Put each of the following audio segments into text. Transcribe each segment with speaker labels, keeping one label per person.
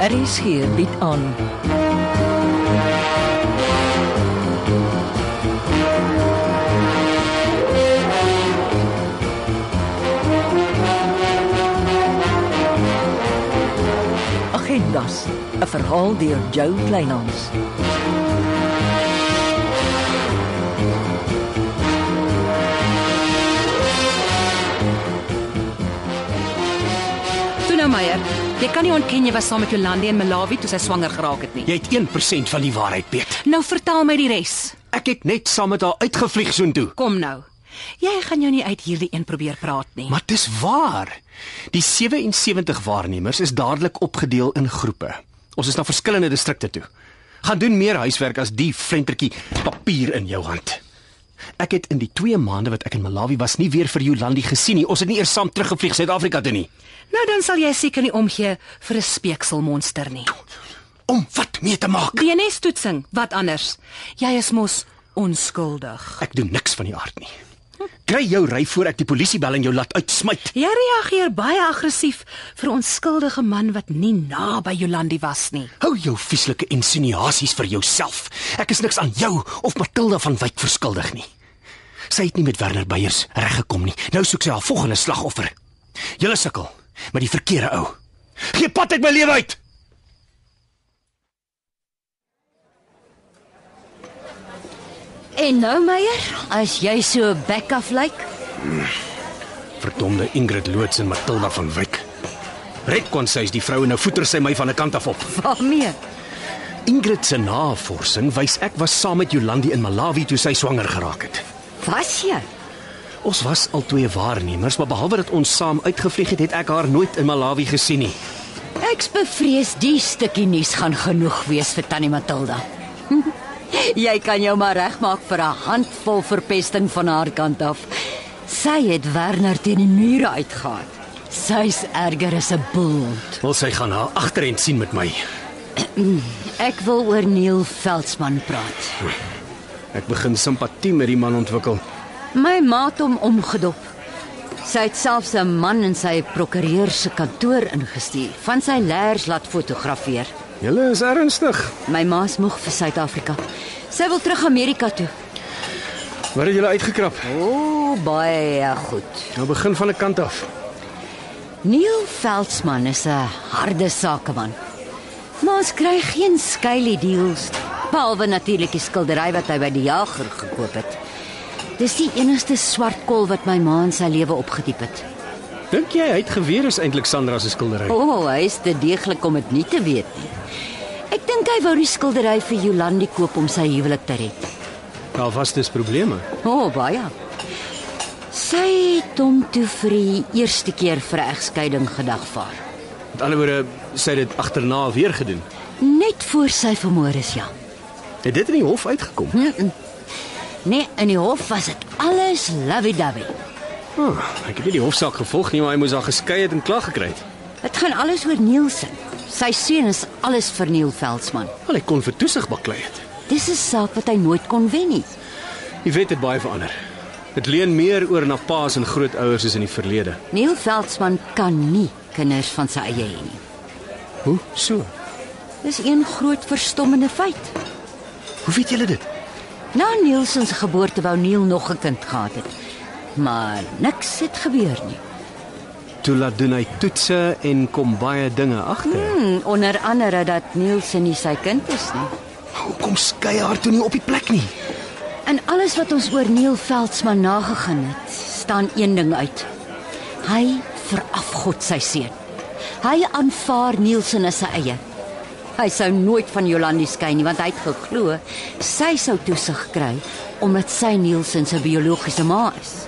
Speaker 1: Aries hier bied aan. Agendas, 'n verhaal deur Jo Kleinhans.
Speaker 2: Toe nou Meyer, jy kan nie ontken jy was saam met Jolande in Malawi toe sy swanger geraak het nie.
Speaker 3: Jy het 1% van die waarheid, Piet.
Speaker 2: Nou vertel my die res.
Speaker 3: Ek het net saam met haar uitgevlieg soontoe.
Speaker 2: Kom nou. Jy gaan jou nie uit hierdie een probeer praat nie.
Speaker 3: Maar dis waar. Die 77 waarnemers is dadelik opgedeel in groepe. Ons is na verskillende distrikte toe. Gaan doen meer huiswerk as die flentertjie papier in jou hand. Ek het in die 2 maande wat ek in Malawi was nie weer vir Jolandi gesien nie. Ons het nie eers saam teruggevlieg Suid-Afrika toe nie.
Speaker 2: nou dan sal jy seker nie omgee vir 'n speekselmonster nie.
Speaker 3: Om wat mee te maak?
Speaker 2: DNA-toetsing, wat anders? Jy is mos onskuldig.
Speaker 3: Ek doen niks van die aard nie. Kry jou ry voor ek die polisie bel en jou laat uitsmyt.
Speaker 2: Jy reageer baie aggressief vir 'n onskuldige man wat nie naby Jolandi was nie.
Speaker 3: Hou jou vieslike insinuasies vir jouself. Ek is niks aan jou of Matilda van Wyk verskuldig nie. Sy het nie met Werner Beyers reggekom nie. Nou soek sy haar volgende slagoffer. Julle sukkel met die verkeerde ou. Gee pad uit my lewe uit.
Speaker 4: En nou Meyer, as jy so back af lyk, like,
Speaker 3: Verdomde Ingrid Loots en Matilda van Wyk. Red kon sy is die vroue nou voeter sy my van 'n kant af op.
Speaker 4: waarmee?
Speaker 3: Ingrid se navorsing wys ek was saam met Jolandi in Malawi toe sy swanger geraak het.
Speaker 4: Was jy?
Speaker 3: Ons was al twee waarnemers, maar behalwe dat ons saam uitgevlieg het, het ek haar nooit in Malawi gesien nie.
Speaker 4: Ek's bevrees die stukkie nuus gaan genoeg wees vir Tannie Matilda. jy kan jou maar regmaak vir 'n handvol verpesting van haar kant af. Sy het Werner teen die mure uitgehaal. Sy's erger as 'n boel.
Speaker 3: Wil sy gaan haar agterend sien met my.
Speaker 4: Ek wil oor Neil Veldsmann praat.
Speaker 3: Ek begin simpatie met die man ontwikkel.
Speaker 4: My ma het hom omgedop. Sy het selfs 'n man in sy prokureur se kantoor ingestuur, van sy leers laat fotografeer.
Speaker 3: Julle is ernstig.
Speaker 4: My ma's moeg vir Suid-Afrika. Sy wil terug Amerika toe.
Speaker 3: Wat het julle uitgekrap?
Speaker 4: O, oh, baie goed.
Speaker 3: Nou begin van 'n kant af.
Speaker 4: Neil Veldsmann is 'n harde sakeman. Maar ons kry geen skuilie deals, behalwe natuurlik die skildery wat hy by die jager gekoop het. Dis die enigste swart kol wat my ma in sy lewe opgediep het.
Speaker 3: Dink jy hy het geweet is eintlik Sandra se skildery?
Speaker 4: O, oh, hy is te deeglik om dit nie te weet nie. Ek dink hy wou die skildery vir Jolandi koop om sy huwelik te red.
Speaker 3: Daar was dis probleme.
Speaker 4: O, oh, baie. Sy het hom toe vir die eerste keer vir 'n egskeiding gedagvaar.
Speaker 3: Met ander woorde, sy het dit agterna weer gedoen.
Speaker 4: Net voor sy vermoor is, ja.
Speaker 3: Het dit in die hof uitgekom?
Speaker 4: Mm -mm. Nee, in die hof was dit alles lovey-dovey.
Speaker 3: Oh, ek het nie die hofsaak gevolg nie, maar hy moes haar geskei het en klag gekry het.
Speaker 4: Dit gaan alles oor Nielsen. Sy seun is alles vir Neil Veldsmann.
Speaker 3: Wel, hy kon vir toesig baklei het.
Speaker 4: Dis 'n saak wat hy nooit kon wen nie.
Speaker 3: Die wet het baie verander. Dit leen meer oor na paas en grootouers as in die verlede.
Speaker 4: Neil Veldsmann kan nie kinders van sy eie hê nie.
Speaker 3: Hoe? So.
Speaker 4: Dis een groot verstommende feit.
Speaker 3: Hoe weet julle dit?
Speaker 4: Na Nielsen se geboorte wou Neil nog 'n kind gehad het, maar niks het gebeur nie.
Speaker 3: Toe laat doen hy toetse en kom baie dinge agter.
Speaker 4: Hmm, onder andere dat Nielsen nie sy kind is nie.
Speaker 3: Hoekom skei hy haar toe nie op die plek nie?
Speaker 4: En alles wat ons oor Neil Veldsmann nagegaan het, staan een ding uit. Hy verafgod sy seun. Hy aanvaar Nielsen as sy eie. Hy sou nooit van Jolandi skei nie want hy het geglo sy sou toesig kry omdat sy Nielsen se biologiese ma is.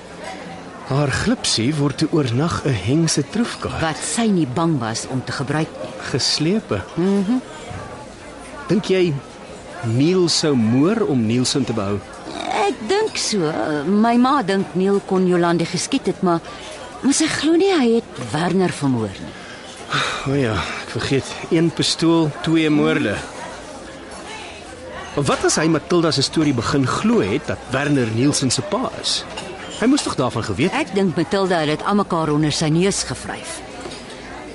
Speaker 3: Haar glipsie word te oornag 'n hengse troefkaart
Speaker 4: wat sy nie bang was om te gebruik nie.
Speaker 3: geslepe. Mhm. Mm Dink jy Neil sou moer om Nielsen te behou?
Speaker 4: Ek dink so. My ma dink Neil kon Jolande geskiet het, maar maar sy glo nie hy het Werner vermoor nie.
Speaker 3: O ja, ek vergeet. Een pistool, twee moorde. Maar wat as hy Matilda se storie begin glo het dat Werner Nielsen se pa is? Hy moes tog daarvan geweet het.
Speaker 4: Ek dink Matilda het dit almekaar onder sy neus gevryf.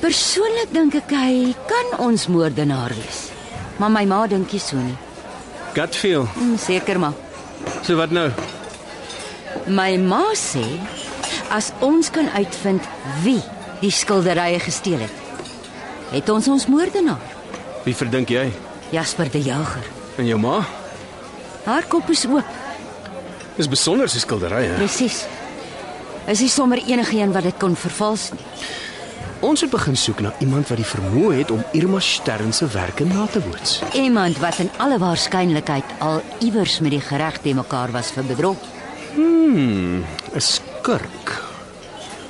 Speaker 4: Persoonlik dink ek hy kan ons moordenaar wees. Maar my ma dink nie so nie.
Speaker 3: Gutfeel.
Speaker 4: Hmm, Seker maar.
Speaker 3: So wat nou?
Speaker 4: My ma sê as ons kan uitvind wie die skilderye gesteel het, het ons ons moordenaar,
Speaker 3: Wie verdink jy?
Speaker 4: Jasper die Jager.
Speaker 3: En jou ma?
Speaker 4: Haar kop is oop,
Speaker 3: Dis besonder se skilderye.
Speaker 4: presies. Is nie sommer enige een wat dit kon vervals nie.
Speaker 3: Ons het begin soek na iemand wat die vermoë het om Irma Stern se werke na te boots.
Speaker 4: Iemand wat in alle waarskynlikheid al iewers met die gereg te mekaar was vir bedrog.
Speaker 3: 'n Skurk.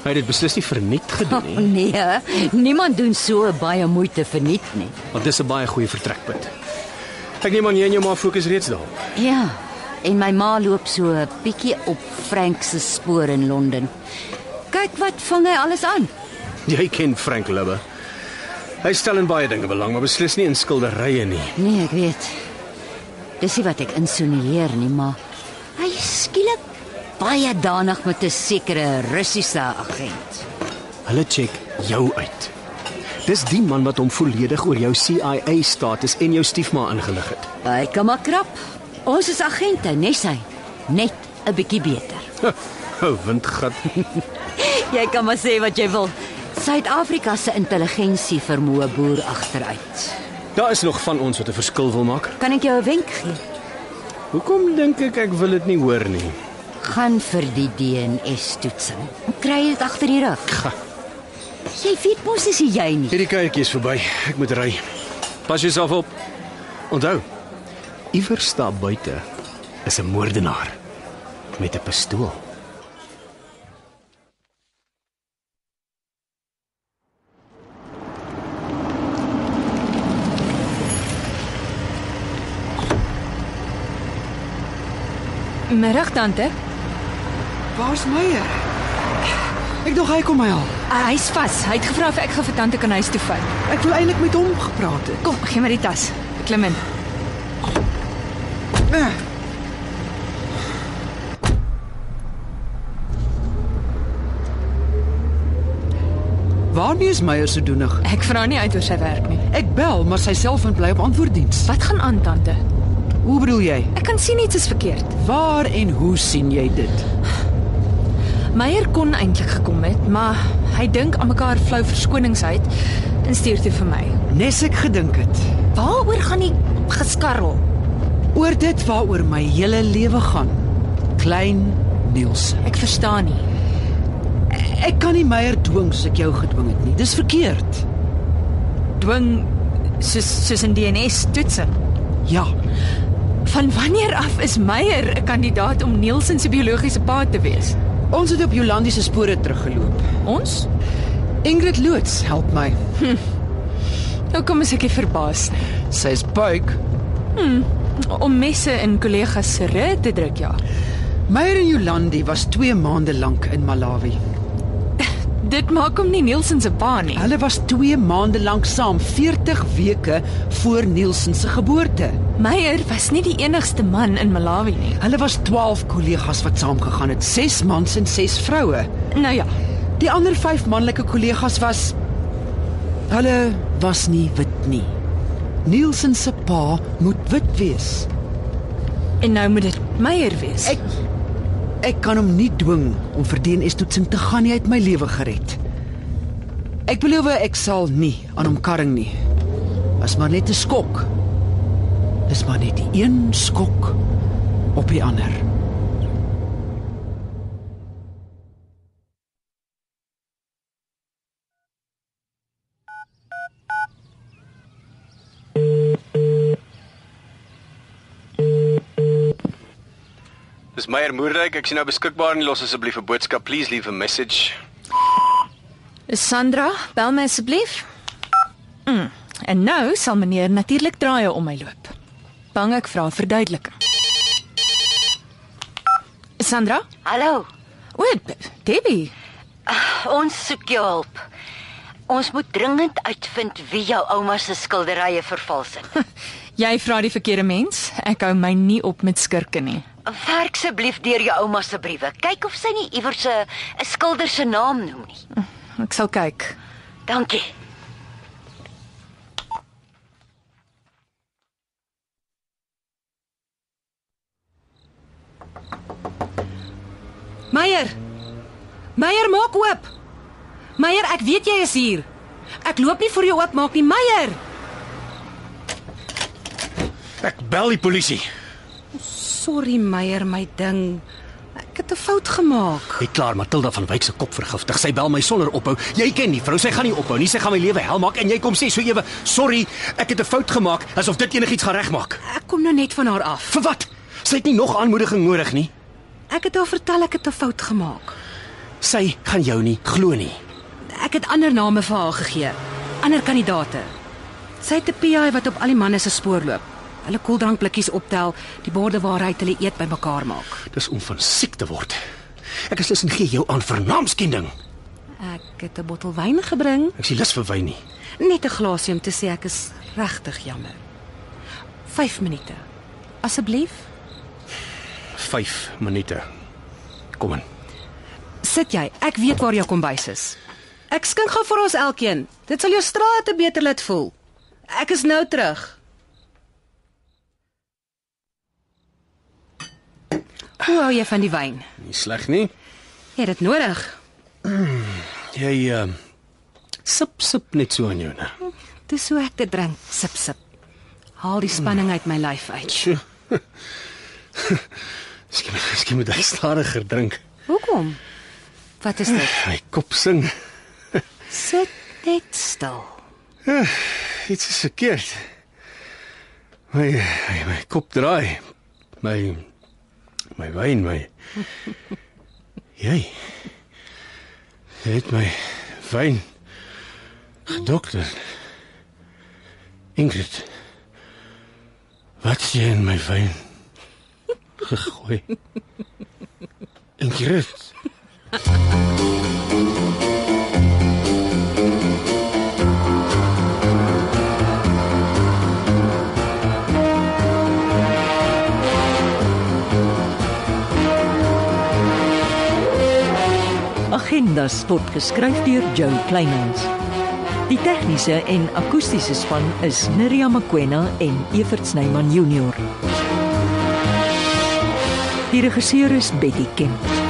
Speaker 3: Hy het dit beslis nie verniet
Speaker 4: Oh,
Speaker 3: gedoen nie,
Speaker 4: nee, niemand doen so baie moeite verniet nie.
Speaker 3: want dis 'n baie goeie vertrekpunt. Ek neem aan jy en jou ma fokus reeds daarop.
Speaker 4: Ja, en my ma loop so 'n bietjie op Frank se spoor in Londen. Kyk wat vang hy alles aan.
Speaker 3: Jy ken Frank Lubbe. Hy stel in baie dinge belang, maar beslis nie in skilderye nie.
Speaker 4: Nee, ek weet. Dis nie wat ek insinueer nie, maar hy is skielik baie danig met 'n sekere Russiese agent.
Speaker 3: Hulle check jou uit. Dis die man wat hom volledig oor jou CIA status en jou stiefma ingelig het.
Speaker 4: Hy kan maar krap. Ons is agente, nes hy. Net 'n bietjie beter.
Speaker 3: Ou windgat.
Speaker 4: Jy kan maar sê wat jy wil. Suid-Afrika se intelligensie vermoë boer agteruit.
Speaker 3: Daar is nog van ons wat 'n verskil wil maak.
Speaker 4: Kan ek jou 'n wenk gee?
Speaker 3: Hoekom dink ek ek wil dit nie hoor nie?
Speaker 4: Gaan vir die DNS-toetsing. Kry dit agter die rug.
Speaker 3: Ga.
Speaker 4: Jy weet mos dis nie jy nie.
Speaker 3: Hierdie kuiertjie is verby. Ek moet ry. Pas jouself op. Onthou, iewers daar buite is 'n moordenaar met 'n pistool.
Speaker 2: Middag tante.
Speaker 5: Waar's Meyer? Ek dink hy kom my haal.
Speaker 2: Ah, Hy's vas. Hy het gevra of ek gou vir tante kan huis toe vat.
Speaker 5: Ek wou eintlik met hom gepraat het.
Speaker 2: Kom, gee my die tas. Ek klim in.
Speaker 5: Eh, Waarmee is Meyer so doenig?
Speaker 2: Ek vra nie uit oor sy werk nie.
Speaker 5: Ek bel, maar sy selfoon bly op antwoorddiens.
Speaker 2: Wat gaan aan tante?
Speaker 5: Hoe bedoel jy?
Speaker 2: Ek kan sien iets is verkeerd.
Speaker 5: Waar en hoe sien jy dit?
Speaker 2: Meyer kon eintlik gekom het, maar hy dink aan mekaar flou verskonings uit en stuur toe vir my.
Speaker 5: Nes ek gedink het.
Speaker 2: Waaroor gaan die geskarrel?
Speaker 5: Oor dit waaroor my hele lewe gaan. Klein Nielsen.
Speaker 2: Ek verstaan nie.
Speaker 5: Ek kan nie Meyer dwing soos ek jou gedwing het nie. Dis verkeerd.
Speaker 2: Dwing soos soos 'n DNS toetsing.
Speaker 5: Ja,
Speaker 2: Van wanneer af is Meyer 'n kandidaat om Nielsen se biologiese pa te wees?
Speaker 5: ons het op Jolandi se spore teruggeloop.
Speaker 2: Ons?
Speaker 5: Ingrid Loots help my.
Speaker 2: Nou kom as ek hier verbaas
Speaker 5: Sy's buik.
Speaker 2: om messe in kollegas se rug te druk ja.
Speaker 5: Meyer en Jolandi was 2 maande lank in Malawi.
Speaker 2: Dit maak hom nie Nielsen se pa nie.
Speaker 5: Hulle was 2 maande lank saam, 40 weke voor Nielsen se geboorte.
Speaker 2: Meyer was nie die enigste man in Malawi nie.
Speaker 5: Hulle was 12 kollegas wat saamgegaan het, 6 mans en 6 vroue.
Speaker 2: Nou ja,
Speaker 5: Die ander 5 manlike kollegas was hulle was nie wit nie. Nielsen se pa moet wit wees.
Speaker 2: en nou moet dit Meyer wees.
Speaker 5: Ek ek kan hom nie dwing om vir DNA-toetsing te gaan nie, hy het my lewe gered. Ek beloof ek sal nie aan hom karring nie. Was maar net 'n skok. Dis maar net die een skok op die ander.
Speaker 3: Dis Meyer Moerdijk, ek sien nou beskikbaar en los asseblief 'n boodskap. Please leave a message.
Speaker 2: Eh, Sandra, bel my asseblief. Mm. En nou sal meneer natuurlik draaie om my loop. Bang ek vra verduideliking. Sandra?
Speaker 4: Hallo,
Speaker 2: O, D- Debbie.
Speaker 4: ons soek jou hulp. Ons moet dringend uitvind wie jou ouma se skilderye vervals het.
Speaker 2: Jy vra die verkeerde mens. Ek hou my nie op met skurke nie.
Speaker 4: Werk asseblief deur jou ouma se briewe. Kyk of sy nie iewers 'n 'n skilder se naam noem nie.
Speaker 2: Ek sal kyk.
Speaker 4: Dankie.
Speaker 6: Meyer. Meyer maak oop. Meyer, ek weet jy is hier. Ek loop nie vir jou oop maak nie, Meyer.
Speaker 3: Ek bel die polisie.
Speaker 6: Sorry Meyer, my ding. Ek het 'n fout gemaak.
Speaker 3: Net klaar, Matilda van Wyk se kop vergiftig. Sy bel my sonder ophou. Jy ken die vrou, sy gaan nie ophou nie. Sy gaan my lewe hel maak en jy kom sê so ewe, "Sorry, ek het 'n fout gemaak," asof dit enigiets gaan regmaak.
Speaker 6: Ek kom nou net van haar af.
Speaker 3: Vir wat? Sy het nie nog aanmoediging nodig nie.
Speaker 6: Ek het haar vertel ek het 'n fout gemaak.
Speaker 3: Sy gaan jou nie glo nie.
Speaker 6: Ek het ander name vir haar gegee, ander kandidate. Sy het 'n PI wat op al die manne se spoor loop. Hulle koeldrankblikkies optel, die borde waar hy hulle eet bymekaar maak.
Speaker 3: Dis om van siek te word. Ek is lus en gee jou aan vernaamskending.
Speaker 6: Ek het 'n bottel wyn gebring,
Speaker 3: Ek sien lus vir wyn nie.
Speaker 6: net 'n glasie om te sê ek is regtig jammer. 5 minute. Asseblief,
Speaker 3: 5 minute. Kom in.
Speaker 6: sit jy. Ek weet waar jou kombuis is. Ek skink gou vir ons elkeen. Dit sal jou strate beter laat voel. Ek is nou terug. Hoe hou jy van die wyn?
Speaker 3: Nie sleg nie.
Speaker 6: Jy het dit nodig.
Speaker 3: Jy ehm uh, sip sip net so aan jou, né?
Speaker 6: Dis hoe ek dit drink, sip sip. Haal die spanning uit my lyf uit.
Speaker 3: Sjoe. Skiem, skiem met daai stadiger drink.
Speaker 6: Hoekom? Wat is dit?
Speaker 3: My kop sing.
Speaker 6: Sit net stil.
Speaker 3: Iets is verkeerd. My my, my kop draai. My my wyn, my. Jy. Jy het my wyn gedokter. Ingrid. Wat het jy in my wyn gegooi? Ingrid.
Speaker 1: Agendas word geskryf deur Joe Kleinhans. Die tegniese en akoestiese span is Neriya Mkwena en Evert Snyman Junior. Die regisseur is Betty Kemp.